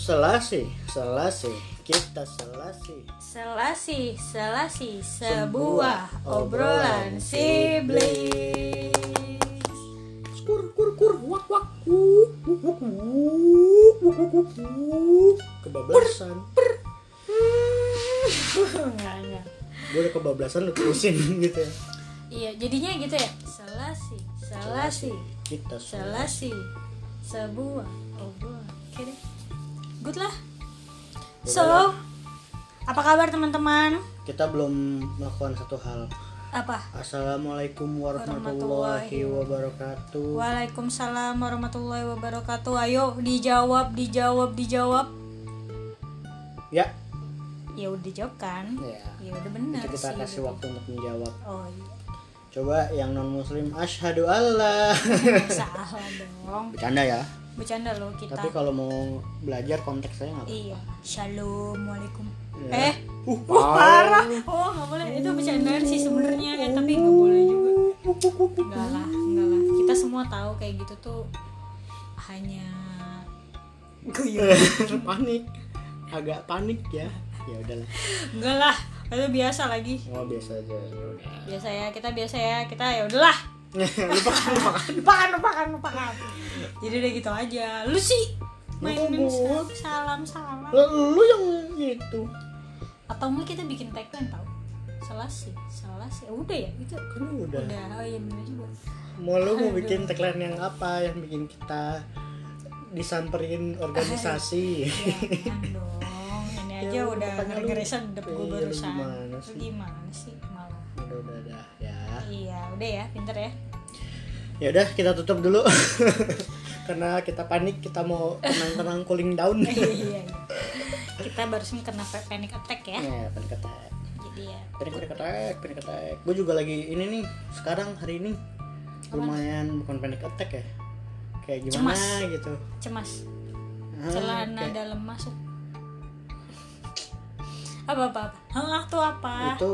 Selasi, Selasi, kita Selasi. Selasi, selasi, sebuah obrolan sibling. Skur kur kur wak wak wuk wuk wuk wuk wuk wuk wuk wuk. Kebablasan. Nggak, nggak. Gue udah kebablasan lu terusin gitu ya. Iya, jadinya gitu ya. Selasi, selasi, Kita Selasi. selasi, sebuah obrolan. Oke deh. Good lah. So, apa kabar teman-teman? Kita belum melakukan satu hal. Apa? Assalamualaikum warahmatullahi wabarakatuh. Waalaikumsalam warahmatullahi wabarakatuh. Ayo dijawab, dijawab, dijawab. Ya, Ya udah dijawab kan? ya. Ya udah benar Nanti kita sih. kasih waktu untuk menjawab. Oh iya. Coba yang non muslim asyhadu Allah. Salah dong. Bercanda ya. Bercanda loh kita. Tapi kalau mau belajar konteksnya nggak apa-apa. Iya. Shalom, waalaikum. Iya. Eh, wah, parah. Oh, nggak boleh. Itu bercandaan sih sebenarnya kan, tapi nggak boleh juga. Enggak lah, enggak lah. Kita semua tahu kayak gitu tuh hanya Eh. guyon. Iya, panik agak panik ya ya udahlah Enggak lah. Itu biasa lagi. oh biasa aja ya udah. Biasa ya, kita biasa ya. Kita ya udahlah. lupakan lupakan Lupakan, lupakan, lupakan. Jadi udah gitu aja. Lu sih mainin Gua- salam salam Lu- lu yang itu atau mungkin kita bikin tagline tau selasi selasi udah ya itu kan udah udah oh iya bener juga mau lu mau bikin tagline yang apa yang bikin kita disamperin organisasi jangan Ya, dong ini aja Ya, udah makanya lu- ngeregesan dep gue Iya, lu barusan gimana Lu sih? gimana sih malah udah udah udah ya iya udah ya pinter ya ya udah kita tutup dulu karena kita panik kita mau tenang tenang cooling down iya iya kita barusan kena pa- panic attack ya ya panik attack jadi ya panik panik attack panik attack gue juga lagi ini nih sekarang hari ini lumayan bukan panik attack ya kayak gimana Cemas. gitu cemas Ah, celana kayak- dalam masuk apa apa apa Hah, tuh apa itu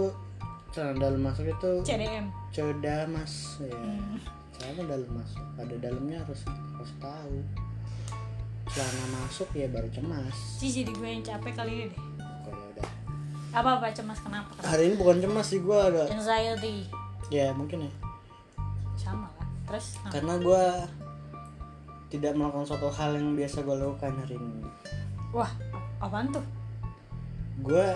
celana dalam masuk itu CDM coda mas ya Hmm. celana dalam masuk ada dalamnya harus harus tahu celana masuk ya baru cemas sih jadi gue yang capek kali ini deh Oke, ya udah apa apa cemas kenapa hari ini bukan cemas sih gue ada anxiety ya mungkin ya Ah. sama kan terus nah, karena gue tidak melakukan suatu hal yang biasa gue lakukan hari ini wah apaan tuh gue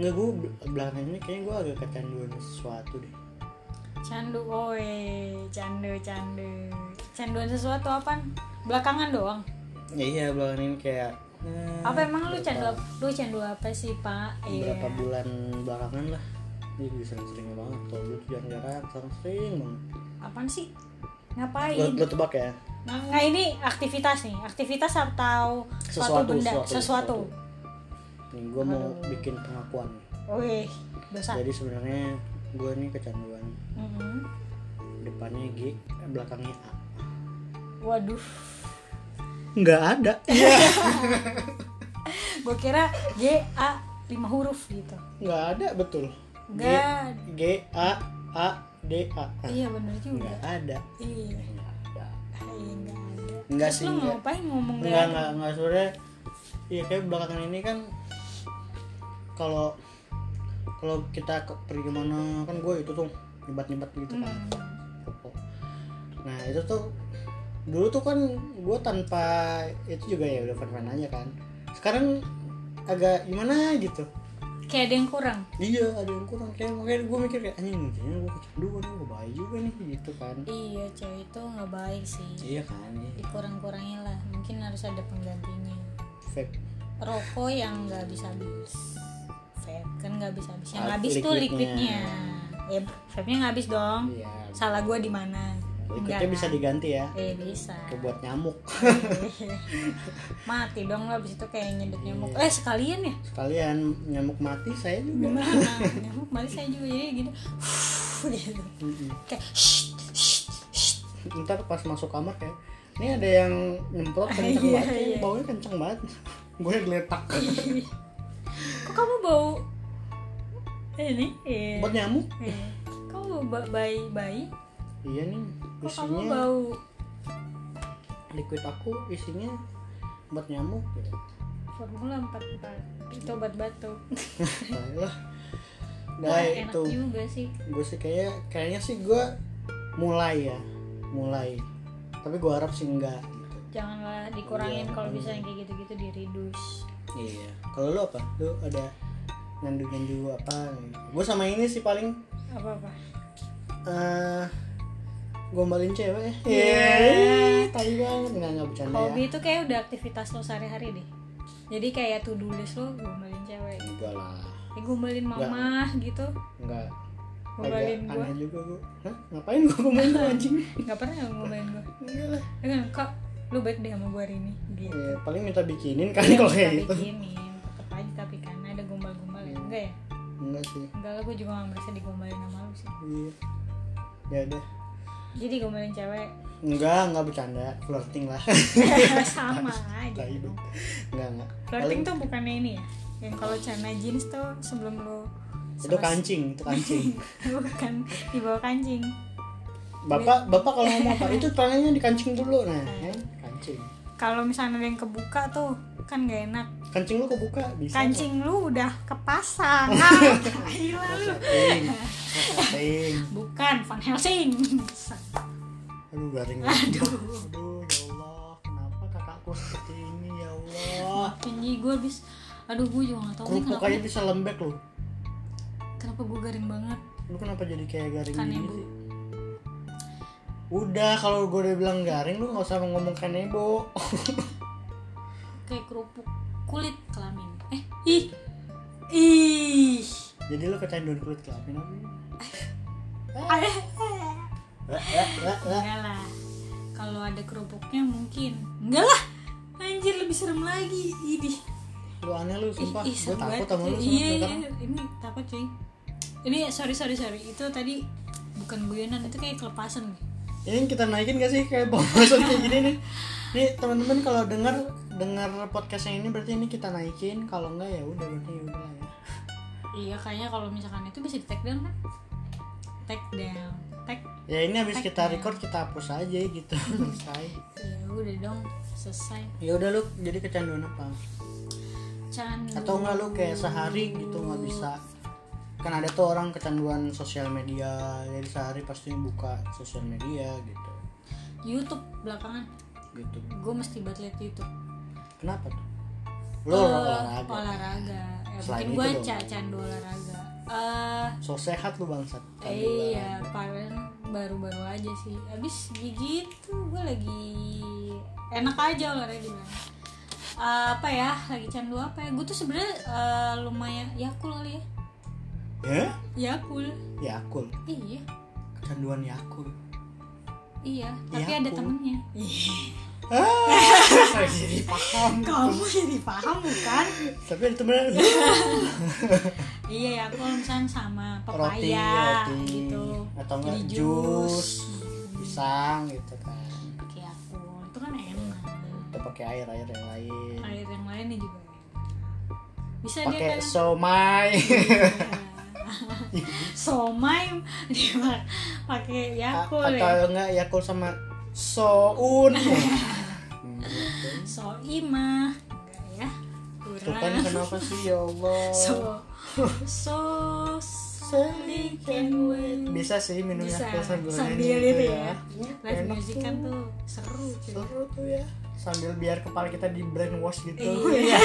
nggak gue belakangan ini kayaknya gue agak kecanduan sesuatu deh candu oe candu candu canduan sesuatu apaan belakangan doang ya iya belakangan ini kayak eh, apa emang lu candu apa? lu candu apa sih pak Iya. berapa bulan belakangan lah ini gue sering-sering banget kalau gue tuh jarang-jarang sekarang sering banget apaan sih lo, ngapain lo tebak ya nah, nggak, ini aktivitas nih aktivitas atau suatu Sesuatu, benda sesuatu, sesuatu, nih gue mau bikin pengakuan Wih, dosa jadi sebenarnya gue nih kecanduan Mm-mm. depannya G eh, belakangnya A waduh nggak ada gue kira G A lima huruf gitu nggak ada betul G Nggak. G A A D A Ah, iya bener juga nggak ada iya nggak ada Iya, nggak ada. Nggak Terus sih, Lu nggak. ngapain ngomong nggak nggak ada? nggak nggak sebenarnya ya kayak belakangan ini kan kalau kalau kita ke, pergi mana kan gue itu tuh nyebat nyebat gitu kan rokok. nah itu tuh dulu tuh kan gue tanpa itu juga ya udah fan aja kan sekarang agak gimana gitu Kayak ada yang kurang. iya ada yang kurang kayak makanya gue mikir kayak anjing kayaknya gue kecanduan gue baik juga nih gitu kan Iya, cewek itu nggak baik sih. iya kan ya. Dikurang-kurangin lah. Mungkin harus ada penggantinya. vape Rokok yang nggak bisa habis. Vape kan nggak bisa habis. Yang Ah, habis tuh liquidnya. liquidnya. Ya, vape-nya nggak habis dong. iya Salah gua di mana? ikutnya bisa kan? diganti ya Eh bisa. Ke buat nyamuk Mati dong lo abis itu kayak nyedot Iya. nyamuk. Eh sekalian ya. sekalian nyamuk mati saya juga Nah, nyamuk mati saya juga jadi gitu. gitu. Iya. Mm-mm. Kayak shh, shh, shh. ntar pas masuk kamar kayak ini ada yang nyemprot kenceng Iya, banget ini iya. baunya kenceng banget gue geletak kok kamu bau ini eh, buat nyamuk eh, kamu bau ba- bayi bayi iya nih kok kamu isinya bau liquid aku isinya buat nyamuk gitu Formula 44 itu obat batuk. Tai lah Wah, Nah, enak itu juga sih. gue sih kayak kayaknya sih gue mulai ya mulai tapi gue harap sih enggak gitu. Janganlah dikurangin Iya, kalau bisa yang kayak gitu-gitu di reduce. iya kalau lu apa lu ada nyandu nyandu apa gue sama ini sih paling Apa-apa. eh gombalin cewek ya tadi banget nggak nggak bercanda ya Iya. Hobi itu kayak udah aktivitas lo sehari-hari deh. Jadi kayak to do list lo gombalin cewek. enggak lah Ya, gombalin mama gitu. enggak Gombalin agak gua. aneh juga gue Hah? ngapain gue gombalin lu, anjing Gak pernah yang gombalin gue. enggak lah Ya kan kak lu baik deh sama gue hari ini. Gitu. Ya, paling minta bikinin kali kalau Kita kayak gitu Iya. bikinin tetep aja tapi kan ada gombal-gombal ya enggak ya enggak sih enggak lah gue juga gak merasa digombalin sama lu sih iya ya udah jadi gombalin cewek enggak enggak bercanda flirting lah sama aja Tai lu. enggak enggak flirting tuh bukannya ini ya yang kalau celana jeans tuh sebelum lu Paling- itu kan- kancing itu kancing Iya. bukan di bawah kancing bapak bapak kalau ngomong apa itu tangannya dikancing dulu nah kan kancing kalau misalnya ada yang kebuka tuh kan gak enak kancing lu kebuka bisa kancing lu udah kepasang ah gila lu Flirting. Flirting. bukan Van Helsing aduh garing aduh aduh ya Allah kenapa kakakku seperti ini ya Allah ini gue habis aduh gue juga gak tau nih kerupuk kenapa aja bisa lembek loh kenapa gue garing banget Kan ya, lu kenapa jadi kayak garing Kanebo. gini Iya sih udah kalau gue udah bilang garing lu nggak usah ngomong kanebo kayak kerupuk kulit kelamin eh ih ih jadi lu kecanduan kulit kelamin apa ini? Eh, Aduh. eh, eh, eh. eh, enggak lah kalau ada kerupuknya mungkin enggak lah anjir lebih serem lagi ini lu aneh lu ih sumpah gue ih serem takut banget, sama lu cuy. sumpah iya iya sekarang. ini takut cuy ini sorry sorry sorry itu tadi bukan guyonan itu kayak kelepasan ini kita naikin gak sih kayak pembahasan kayak gini nih nih teman-teman kalau dengar dengar podcast yang ini berarti ini kita naikin kalau enggak ya udah berarti ya udah lah ya iya kayaknya kalau misalkan itu bisa di take down kan take down take ya ini habis kita record kita hapus aja gitu selesai ya udah dong selesai ya udah lu jadi kecanduan apa candu atau enggak lu kayak sehari gitu nggak bisa kan ada tuh orang kecanduan sosial media jadi sehari pasti buka sosial media gitu YouTube belakangan gitu gue mesti buat liat YouTube kenapa tuh lu Eh, olahraga olahraga ya, Selain itu mungkin gue dong. ca candu olahraga Eh, so sehat lu bangsat iya paling baru-baru aja sih abis gigit tuh gue lagi enak aja olahraga Bang. Eh, apa ya lagi candu apa ya gue tuh sebenarnya eh, lumayan yakul kali ya ya yakul yakul iya Ya, kecanduan ya, yakul iya tapi ada Yakult. temennya ah saya jadi paham kamu jadi paham bukan tapi itu benar Iya ya, aku misalnya sama roti pepaya roti gitu. atau enggak Jadi jus jus. pisang gitu kan Pakai aku. Itu kan enak. atau pakai air air yang lain Air yang lainnya juga enak. Bisa pakai dia kan. somai Somai dia ma- pakai yakul ya. atau enggak yakul sama soun Hmm, gitu. Soima. Enggak ya. Tuh kan Kurang. kenapa sih ya Allah So so slowly can wait. bisa sih minum Bisa yakul sambil, sambil nyanyi itu gitu ya. Live Enak music kan tuh seru cuy. seru tuh ya sambil biar kepala kita di brainwash gitu Iya.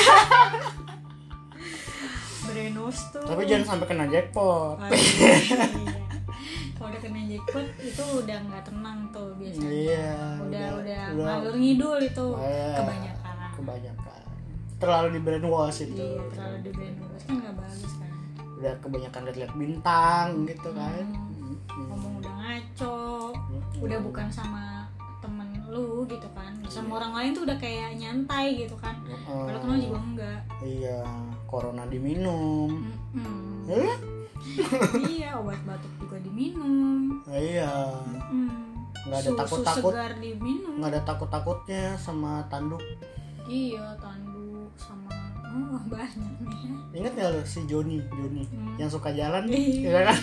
Brainwash tuh. tapi jangan sampai kena jackpot Aduh, iya. Kalau udah kena jackpot itu udah nggak tenang tuh biasanya. iya Udah udah udah ngalur ngidul itu Iya. kebanyakan. kebanyakan terlalu di brainwash itu Iya, terlalu di brainwash kan nggak bagus kan. udah kebanyakan lihat bintang gitu kan Hmm. Ngomong udah ngaco, udah bukan sama temen lu gitu kan. Iya. Sama orang lain tuh udah kayak nyantai gitu kan. Mm-mm. Kalau kenal juga enggak. iya corona diminum Mm-mm. Eh? iya, obat batuk juga diminum. iya Hmm. Nggak ada Susu takut-takut. segar diminum nggak ada takut takutnya sama tanduk iya tanduk sama oh, banyak nih ya. ingat nggak lo si Joni Joni Hmm. yang suka jalan Iya. iya kan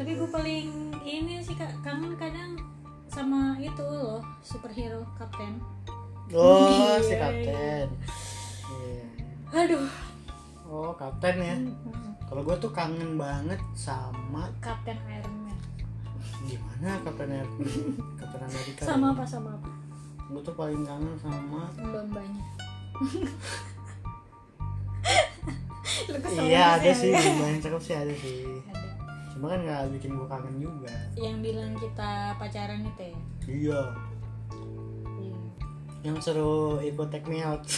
tapi gue paling ini sih kak kangen kadang sama itu loh superhero kapten oh Iya. si kapten Iya. aduh oh kapten ya Hmm. kalau gue tuh kangen banget sama Kapten Iron Man gimana kapten Amerika kapten Amerika sama apa sama apa gue tuh paling kangen sama lombanya Lu kesel iya ada banget sih ya? banyak cakep sih ada sih Ada. cuma kan nggak bikin gue kangen juga yang bilang kita pacaran itu ya iya Iya. yang seru ikut take me out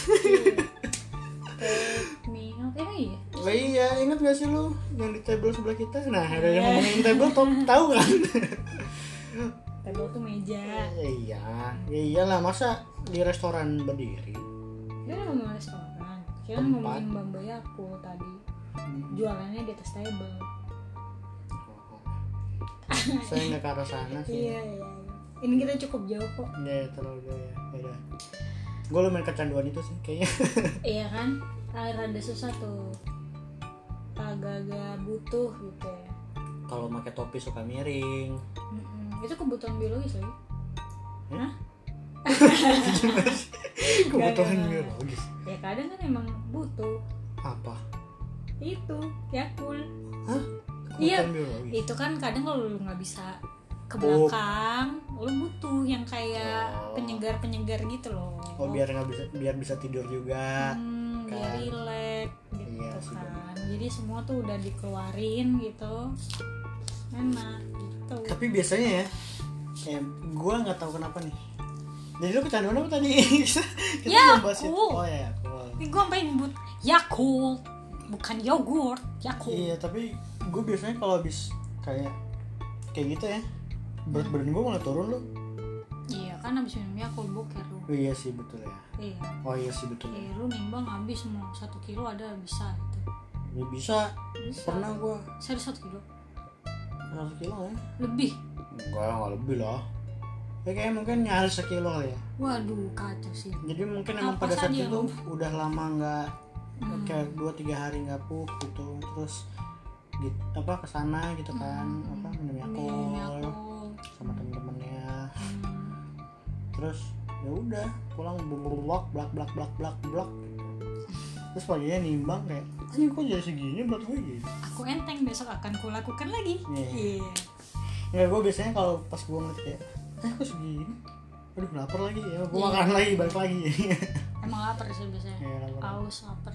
Take me out eh iya Oh iya, ingat gak sih lu yang di table sebelah kita? Nah, ada Iya. yang ngomongin table, tau, tahu kan? table tuh meja Eh, iya, ya iyalah masa di restoran berdiri. dia udah ngomong restoran kita Tempat. ngomongin bambai aku tadi jualannya di atas table Saya nggak ke arah sana sih. iya iya ini kita cukup jauh kok Ya, terlalu jauh ya. Udah. Gue lumayan kecanduan itu sih kayaknya. iya kan Ah, rada susah tuh agak-agak butuh gitu ya Kalau pakai topi suka miring. Mm-mm. itu kebutuhan biologis lagi Kebutuhan Nggak, nggak, nggak. biologis. ya kadang kan emang butuh Apa? itu yakul Hah? Iya. Kebutuhan biologis. itu kan kadang kalau lu nggak bisa ke Oh. belakang lu butuh yang kayak Oh. penyegar penyegar gitu loh Oh, biar nggak bisa biar bisa tidur juga. Hmm, kan. biar relax gitu Iya sih, kan jadi semua tuh udah dikeluarin gitu enak gitu tapi biasanya ya eh, gue nggak tahu kenapa nih jadi lu kecanduan apa tadi kita kita Ya, belum bahas itu. aku. oh ya aku ini gue sampai nyebut Yakult bukan yogurt Yakult iya tapi gue biasanya kalau habis kayak kayak gitu ya berat badan gue malah turun loh iya kan abis minum Yakult boker lu oh, iya sih betul ya iya oh iya sih betul ya Eh, lu nimbang habis mau satu kilo ada bisa gitu Ya, bisa Bisa. pernah gue serius satu kilo 100 kilo ya lebih enggak enggak lebih lah ya kayak mungkin nyaris sekilo kali ya waduh kacau sih jadi mungkin emang Apa pada saat saja itu yang- udah lama nggak Hmm. kayak dua tiga hari nggak pup gitu terus gitu apa kesana gitu kan apa minum Hmm. Minum ya, Yakult Yakult. sama temen-temennya Hmm. terus ya udah pulang berblok blak blak blak blak blak terus paginya nimbang kayak anjing kok jadi segini berat gue gitu aku enteng besok akan kulakukan lagi Iya. iya nggak Ya, gue biasanya kalau pas gue ngeliat kayak eh kok segini aduh lapar lagi ya gue Iya. makan lagi balik lagi emang lapar sih biasanya Iya, lapar. haus lapar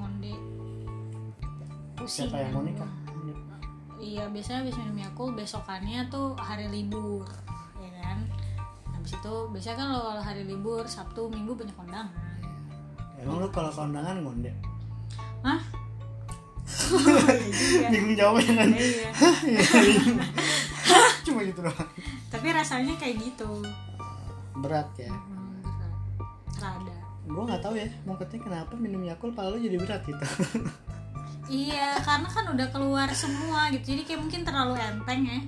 monde pusing siapa yang mau nikah iya biasanya habis minum Yakult besokannya tuh hari libur ya kan habis itu biasanya kan lo kalau hari libur Sabtu Minggu banyak kondangan emang lu kalau kondangan ngondek Hah? Iya juga. bingung jawabnya kan Iya. cuma gitu doang tapi rasanya kayak gitu berat ya Hmm, berat. rada gue nggak tahu ya maksudnya kenapa minum Yakult pala lu jadi berat gitu iya karena kan udah keluar semua gitu jadi kayak mungkin terlalu enteng ya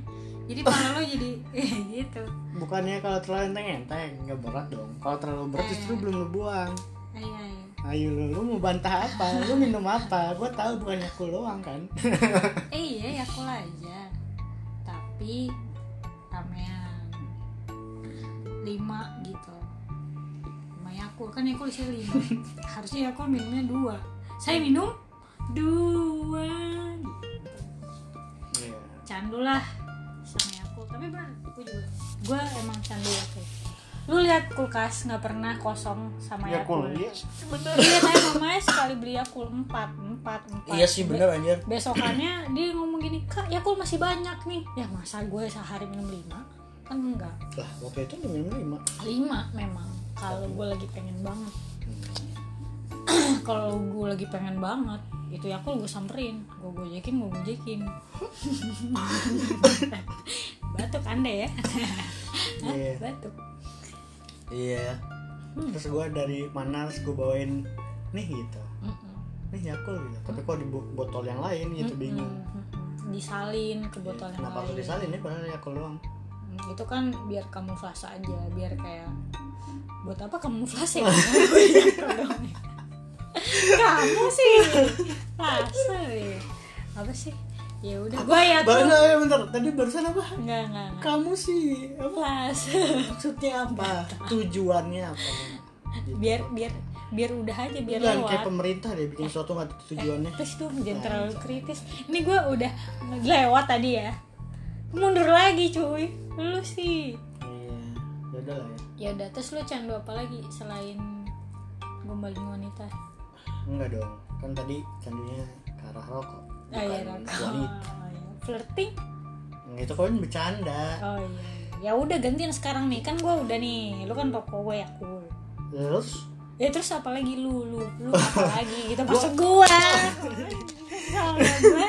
jadi pala lo jadi gitu bukannya kalau terlalu enteng enteng nggak berat dong kalau terlalu berat justru belum lu buang iya iya ayo lu, lu mau bantah apa lu minum apa gue tahu bukan Yakult doang kan eh iya ya aku aja tapi ramean lima gitu lima yakul kan yakul saya lima harusnya yakul minumnya dua saya minum dua Iya. candu lah sama yakul tapi bener gue juga gue emang candu yakul lu lihat kulkas nggak pernah kosong sama yakul Yakult iya bener iya tapi mamanya sekali beli yakul empat empat empat iya sih bener anjir besokannya dia ngomong gini kak Yakult masih banyak nih ya masa gue sehari minum lima kan enggak lah waktu itu lu minum lima lima memang kalau gue lagi pengen banget Hmm. kalau gue lagi pengen banget itu Yakult gue samperin gue gojekin gue gojekin batuk anda ya Hah? Iya. batuk iya terus gue dari mana terus gue bawain nih gitu Mm-mm. nih Yakult gitu tapi kok di bo- botol yang lain gitu bingung Mm-mm. disalin ke botol yang kenapa harus lain disalin ya padahal Yakult doang Hmm, itu kan biar kamuflase aja biar kayak buat apa kamuflase kamu sih fase ya. apa sih ya udah gue ya tuh Barusan, bentar, tadi barusan apa? nggak nggak nggak. Kamu sih, apa fase maksudnya apa? Tujuannya apa? biar biar biar udah aja biar Jangan kayak lewat pemerintah deh bikin sesuatu nggak ada tujuannya. terus tuh jangan terlalu kritis ini gue udah lewat tadi ya mundur lagi cuy lu sih Iya, ya udah lah ya. ya udah terus lu candu apa lagi selain gombalin wanita Enggak dong, kan tadi candunya ke arah rokok. ah ya bukan rokok wanita. Oh, iya. flirting Nah, itu kan bercanda. oh iya ya udah gantian sekarang nih kan gue udah nih lu kan rokok gue ya cool Terus ya terus apa lagi lu lu lu apa lagi gitu maksud gua sama gua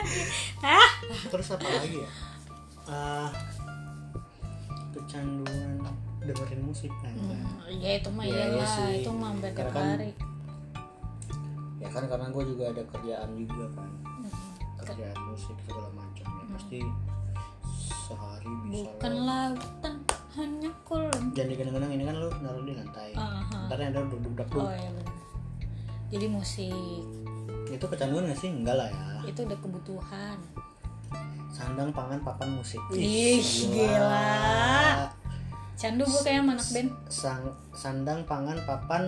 ah terus apa lagi ya? Ah, kecanduan dengerin musik nah, ya itu mah Iya, ya, iya sih. itu mah hampir tiap Karena kan- hari ya kan karena gue juga ada kerjaan juga kan Hmm. kerjaan musik segala macam ya pasti sehari bisa lo- bukanlah hutan hanya kolam jangan digenang-genang ini kan lu naruh di lantai Aha. ntar ada duduk Ah, oh duduk ya benar jadi musik iya. itu kecanduan gak sih enggak lah ya itu udah kebutuhan sandang pangan papan musik Ih, gila. candu gua kayak anak band Sang, sandang pangan papan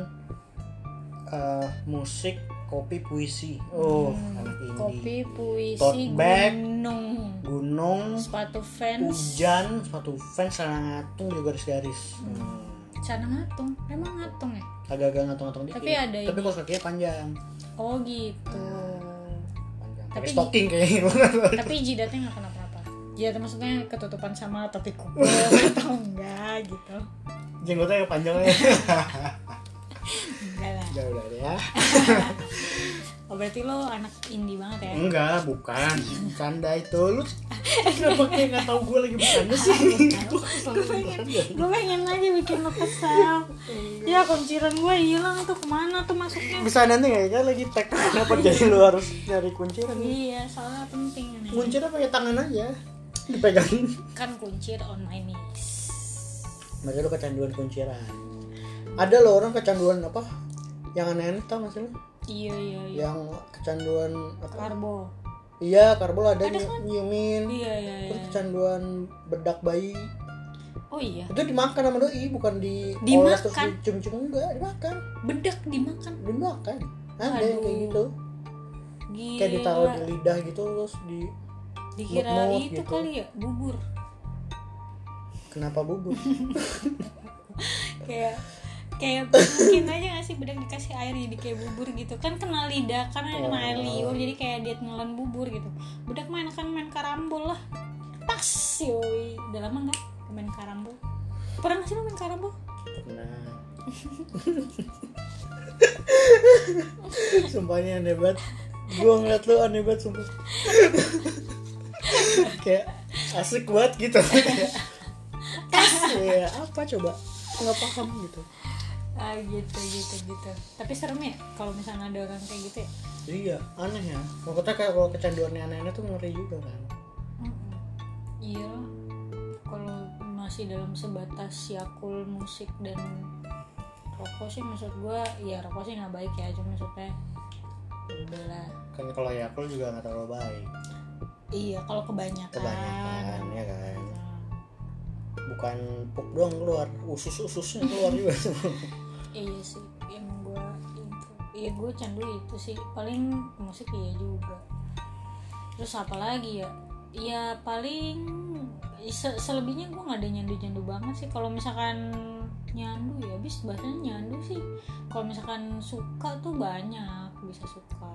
eh, musik kopi puisi oh anak ini Hmm, kopi Tote puisi bag. gunung gunung sepatu fans hujan sepatu fans celana ngatung juga garis-garis hmm. cara ngatung emang ngatung ya agak-agak ngatung-ngatung dikit Tapi ada tapi ini. kalau kakinya panjang oh gitu panjang Tapi tapi di- stocking kayaknya tapi jidatnya nggak kenapa-napa jidat maksudnya ketutupan sama topi kuku atau enggak gitu jenggotnya yang panjangnya enggak lah udah udah ya oh berarti lo anak indie banget ya Eh. enggak bukan canda itu lu kenapa kayak nggak tahu gue lagi bercanda sih gue pengen gue pengen aja bikin lo kesal ya kunciran gue hilang tuh kemana tuh masuknya bisa nanti nggak ya kan lagi tag kenapa jadi lu harus nyari kunciran iya soalnya penting nih kunciran pakai tangan aja dipegangin kan kuncir on my knees mereka lu kecanduan kunciran ada loh orang kecanduan apa yang aneh-aneh tau gak sih lu? iya iya iya yang kecanduan apa karbo iya karbol ada, Ada nyi- kan? nyiumin iya iya terus iya kecanduan bedak bayi oh iya itu dimakan sama doi bukan di Dimakan? terus dicium-cium enggak dimakan bedak dimakan dimakan ada yang kayak Aduh. gitu gila kayak ditaruh di lidah gitu terus di dikira mulut itu gitu. kali ya bubur kenapa bubur kayak kayak mungkin aja nggak sih bedak dikasih air jadi kayak bubur gitu kan kena lidah Oh. karena kena air liur jadi kayak dia telan bubur gitu bedak main kan main karambol lah tas yoi udah lama nggak main karambol pernah nggak sih lo main karambol nah sumpah ini aneh banget gue ngeliat lu aneh banget sumpah kayak asik banget gitu Kayak, "Tas, ya apa coba nggak paham gitu ah gitu gitu gitu tapi serem ya kalau misalnya ada orang kayak gitu ya iya aneh ya maksudnya kayak kalau kecanduannya aneh-aneh tuh ngeri juga kan Mm-mm. iya lah. kalau masih dalam sebatas yakul musik dan rokok sih maksud gua ya rokok sih nggak baik ya cuma maksudnya ya udahlah kan kalau Yakult juga nggak terlalu baik iya kalau kebanyakan, kebanyakan ya kan Nah, bukan puk doang keluar usus ususnya keluar juga iya sih yang gua itu iya gua candu itu sih paling musik iya juga terus apa lagi ya ya paling se- selebihnya gua nggak ada nyandu nyandu banget sih kalau misalkan nyandu ya habis bahasanya nyandu sih kalau misalkan suka tuh banyak bisa suka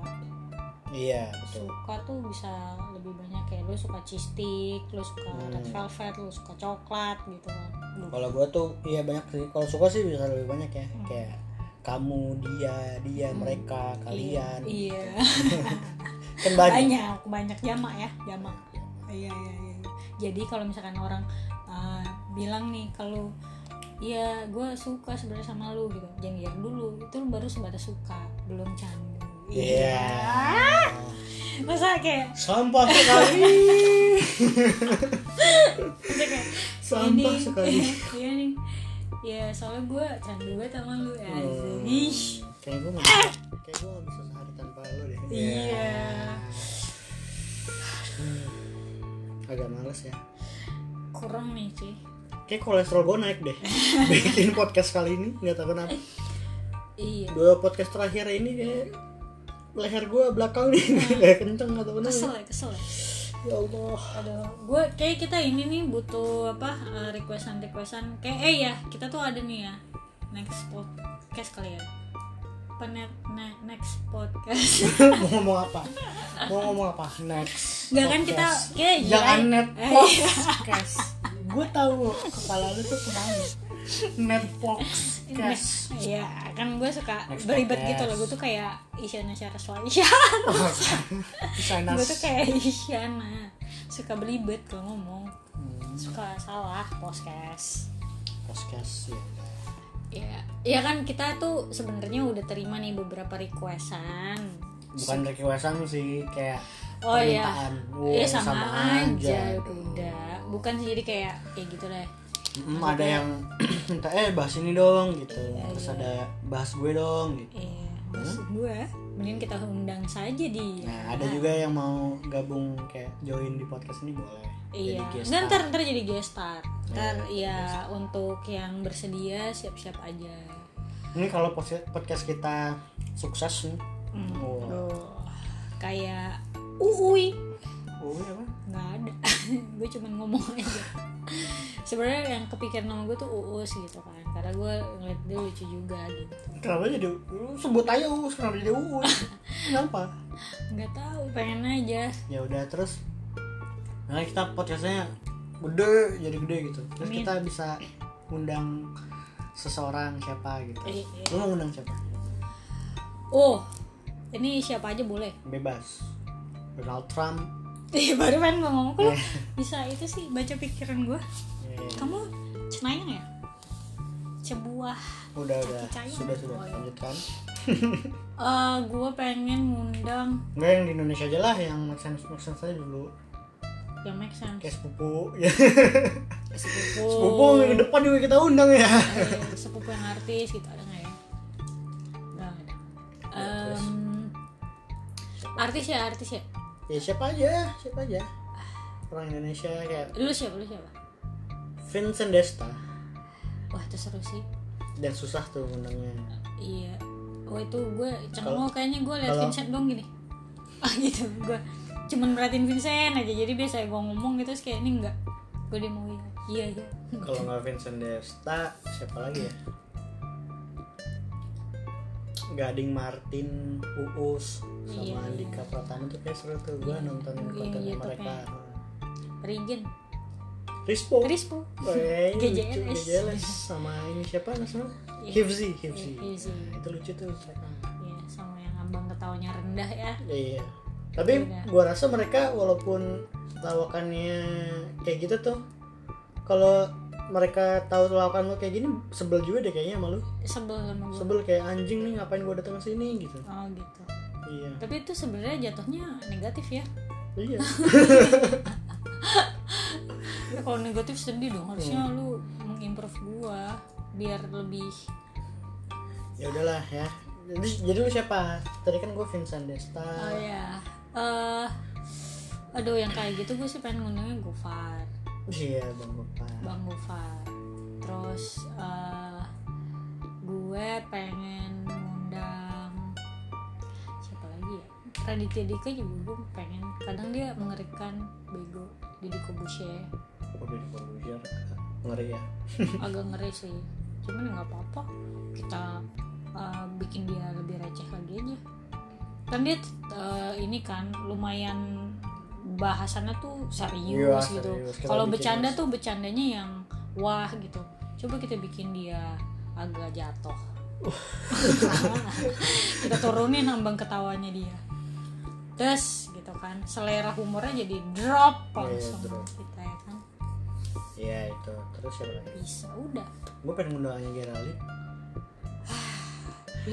iya betul suka tuh bisa lebih banyak kayak lo suka cheesesteak lo suka red Hmm. velvet lo suka coklat gitu kan kalau gua tuh iya banyak sih kalau suka sih bisa lebih banyak ya Hmm. kayak kamu dia dia mereka kalian gitu. iya kan banyak banyak banyak jamak ya jamak iya iya iya jadi kalau misalkan orang uh, bilang nih kalau ya gue suka sebenarnya sama lu gitu jangan lihat dulu itu lu baru sebatas suka belum candu iya masa kayak sampah sekali masa kayak sampah ini- sekali iya nih ya soalnya gue candu banget sama lu ya Hmm, Ih, kayak gua nggak bisa kayak gua nggak bisa sehari tanpa lo deh iya Hmm, agak males ya kurang nih sih kayak kolesterol gua naik deh bikin podcast kali ini nggak tahu kenapa iya dua podcast terakhir ini kayak leher gue belakang nih kayak kenceng atau benar Hmm. kesel ya kesel ya ya Allah Aduh, gue kayak kita ini nih butuh apa eh, requestan requestan kayak eh ya kita tuh ada nih ya next podcast kali ya apa ne- ne- next podcast mau ngomong apa mau ngomong apa next nggak kan kita podcast. kayak jangan jilain. net Eh, Oh, podcast gue tahu kepala lu tuh kemana net Nah, podcast Iya, kan gue suka Next beribet podcast. gitu loh. Gue tuh kayak Isyana Syaraswa Isya. Isyana Gue tuh kayak Isyana. Suka beribet kalau ngomong. Suka salah podcast. Hmm, podcast ya Ya, ya kan kita tuh sebenarnya udah terima nih beberapa requestan. bukan requestan sih kayak Oh iya. permintaan. Wow, Ya sama, aja, Iya. udah. Bukan sih jadi kayak kayak gitu deh. Mm, ada yang minta eh bahas ini dong gitu terus ada bahas gue dong gitu Iya, maksud gue. Mending kita undang saja dia. nah ada juga yang mau gabung kayak join di podcast ini boleh Iya. guest Nggak, ntar star. ntar jadi guest star. Ntar Iya, ya untuk yang bersedia siap-siap aja. ini kalau podcast podcast kita sukses nih Hmm. Wow. Aduh, kayak uui Oh, iya apa? nggak ada. gue cuman ngomong aja. Sebenarnya yang kepikiran nama gue tuh uus gitu kan. Karena gue ngeliat dia lucu juga gitu. Kenapa jadi lu sebut aja Uus, kenapa jadi Uus? kenapa? Nggak tahu pengen aja. Ya udah terus nah kita podcastnya gede jadi gede gitu. Terus Amin. kita bisa undang seseorang siapa gitu. Iya, iya. Lu mau undang siapa? Oh, ini siapa aja boleh. Bebas. Donald Trump. Ih, Iya, baru pengen gue ngomong kok lu bisa itu sih baca pikiran gue. Ya, ya. Kamu cenayang ya? Cebuah Udah udah Cacing. sudah sudah Oh, iya. lanjutkan. Eh, gue pengen ngundang Enggak yang di Indonesia aja lah yang make sense make sense aja dulu. yang ya, make sense. Kayak sepupu. Ya. Sepupu. sepupu yang ke depan juga kita undang ya. Eh, sepupu yang artis gitu ada nggak ya? Nggak ada. Ya, terus. Em, artis ya artis ya. ya siapa aja, siapa aja. Orang Indonesia kayak Lu siapa lu siapa? Vincent Desta Wah itu seru sih. dan susah tuh undangnya. Iya. Wah itu gue Kalau- cengok kayaknya gue liat kalau- Vincent dong gini. Ah gitu gue cuman merhatiin Vincent aja jadi biasa gue ngomong gitu terus kayak ini enggak gue demoin iya iya Kalau nggak Vincent Desta, siapa lagi ya? Gading Martin, Uus, Iya. sama Andika Pratama tuh kayak seru tuh gue Iya. nonton Iya, kontennya YouTube-nya. mereka. Regen Rispo, Rispo Wey, Oh, GJLS. iya, lucu, GJLS sama ini siapa namanya? ya. Iya. Hifzi, Hifzi. Iya, Hifzi. Nah, itu lucu tuh mereka. Iya, sama yang abang ketawanya rendah ya. Iya. Tapi Iya. gue rasa mereka walaupun lawakannya kayak gitu tuh, kalau mereka tahu lawakan lo kayak gini sebel juga deh kayaknya sama lu. Sebel sama gue. sebel kayak anjing nih ngapain gue datang ke sini gitu Oh gitu. iya Tapi itu sebenarnya jatuhnya negatif ya. iya Ya, Kalau negatif sedih dong. Harusnya Iya. lu mengimprove gua biar lebih ya udahlah ya jadi jadi lu siapa tadi kan gue Vincent Desta oh ya. Eh aduh yang kayak gitu gue sih pengen ngundangnya Gofar, iya bang Bapak Bang Gofar. Terus eh gue pengen ngundang siapa lagi ya? Raditya Dika juga gue pengen. Kadang dia mengerikan bego Didi Kobushe. udah di Corbuzier. ngeri ya agak ngeri sih cuman ya nggak apa-apa kita uh, bikin dia lebih receh lagi aja kan dia uh, ini kan lumayan bahasannya tuh serius Iya, gitu serius. Kita kalau bikin bercanda serius. tuh bercandanya yang wah gitu coba kita bikin dia agak jatuh kita turunin ambang ketawanya dia terus gitu kan selera humornya jadi drop Iya, langsung drop. kita ya kan iya itu terus siapa lagi bisa udah gue pengen ngundang Anya Geraldine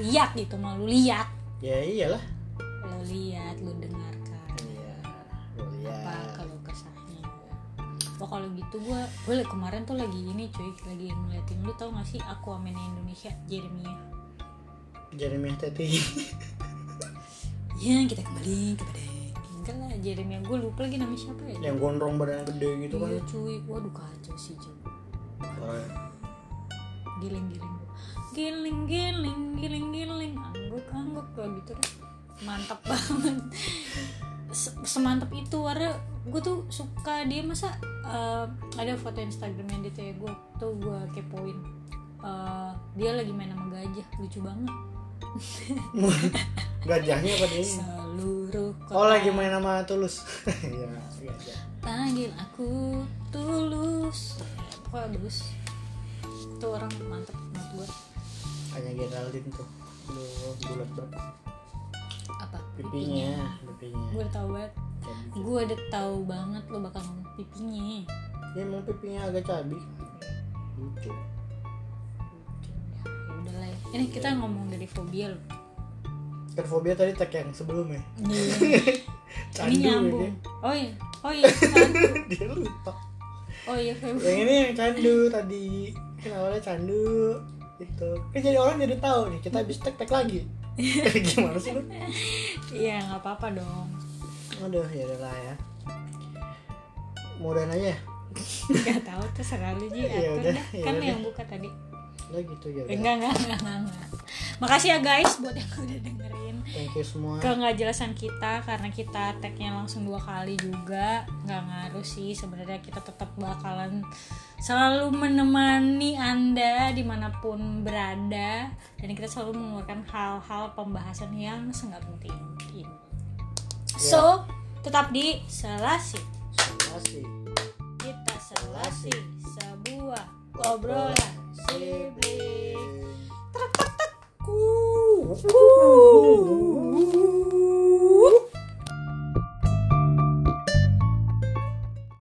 lihat gitu mah lu lihat ya iyalah lu lihat lu dengarkan iya Gua apa lihat kalau kesahnya Wah kalau gitu gue gue li- kemarin tuh lagi ini cuy lagi ngeliatin lu tau gak sih Aquaman Indonesia Jeremia Jeremy Teti ya kita kembali kepada enggak lah Jeremia gue lupa lagi namanya siapa ya yang gondrong badan gede gitu kan Iya, cuy waduh kacau sih cuy Orang- giling giling oke giling giling giling giling angguk angguk kayak gitu deh mantap banget Se- semantap itu warna gue tuh suka dia masa eh, ada foto instagramnya dia tuh ya gue tuh gue kepoin Eh, dia lagi main sama gajah lucu banget Gajahnya apa dia? seluruh Oh lagi main sama Tulus. Iya, gajah. panggil aku tulus pokoknya bagus itu orang mantep menurut gue Hanya Geraldine tuh. Aduh, bulat berapa? apa Pipinya, pipinya. gue udah tahu banget Cabik. gue udah tahu banget lo bakal ngomong pipinya Ya emang pipinya agak cabik. Lucu. ya udah lah ya. ini kita ngomong dari fobia lo Kerfobia Kan tadi tag yang sebelumnya. ini Iya. Candu ya nyambung oh iya oh iya candu. dia. Dia lupa. oh iya fobia Yang ini yang candu tadi. Kan awalnya candu gitu. Kan jadi orang jadi tahu nih kita habis tag tag lagi. Gimana sih lu? iya nggak apa apa dong Aduh, ya udah lah ya. Mudahan aja. nggak tahu terserah lu ji Ya atur udah, dah. ya kan lu udah. yang buka tadi Udah gitu ya. Eh, udah. enggak enggak enggak enggak, enggak makasih ya guys buat yang udah dengerin Thank you semua. ke nggak jelasan kita karena kita tagnya langsung dua kali juga nggak ngaruh sih sebenarnya kita tetap bakalan selalu menemani anda dimanapun berada dan kita selalu mengeluarkan hal-hal pembahasan yang sangat penting ini so tetap di selasi Terima kasih. kita selasi sebuah obrolan sibling Ku.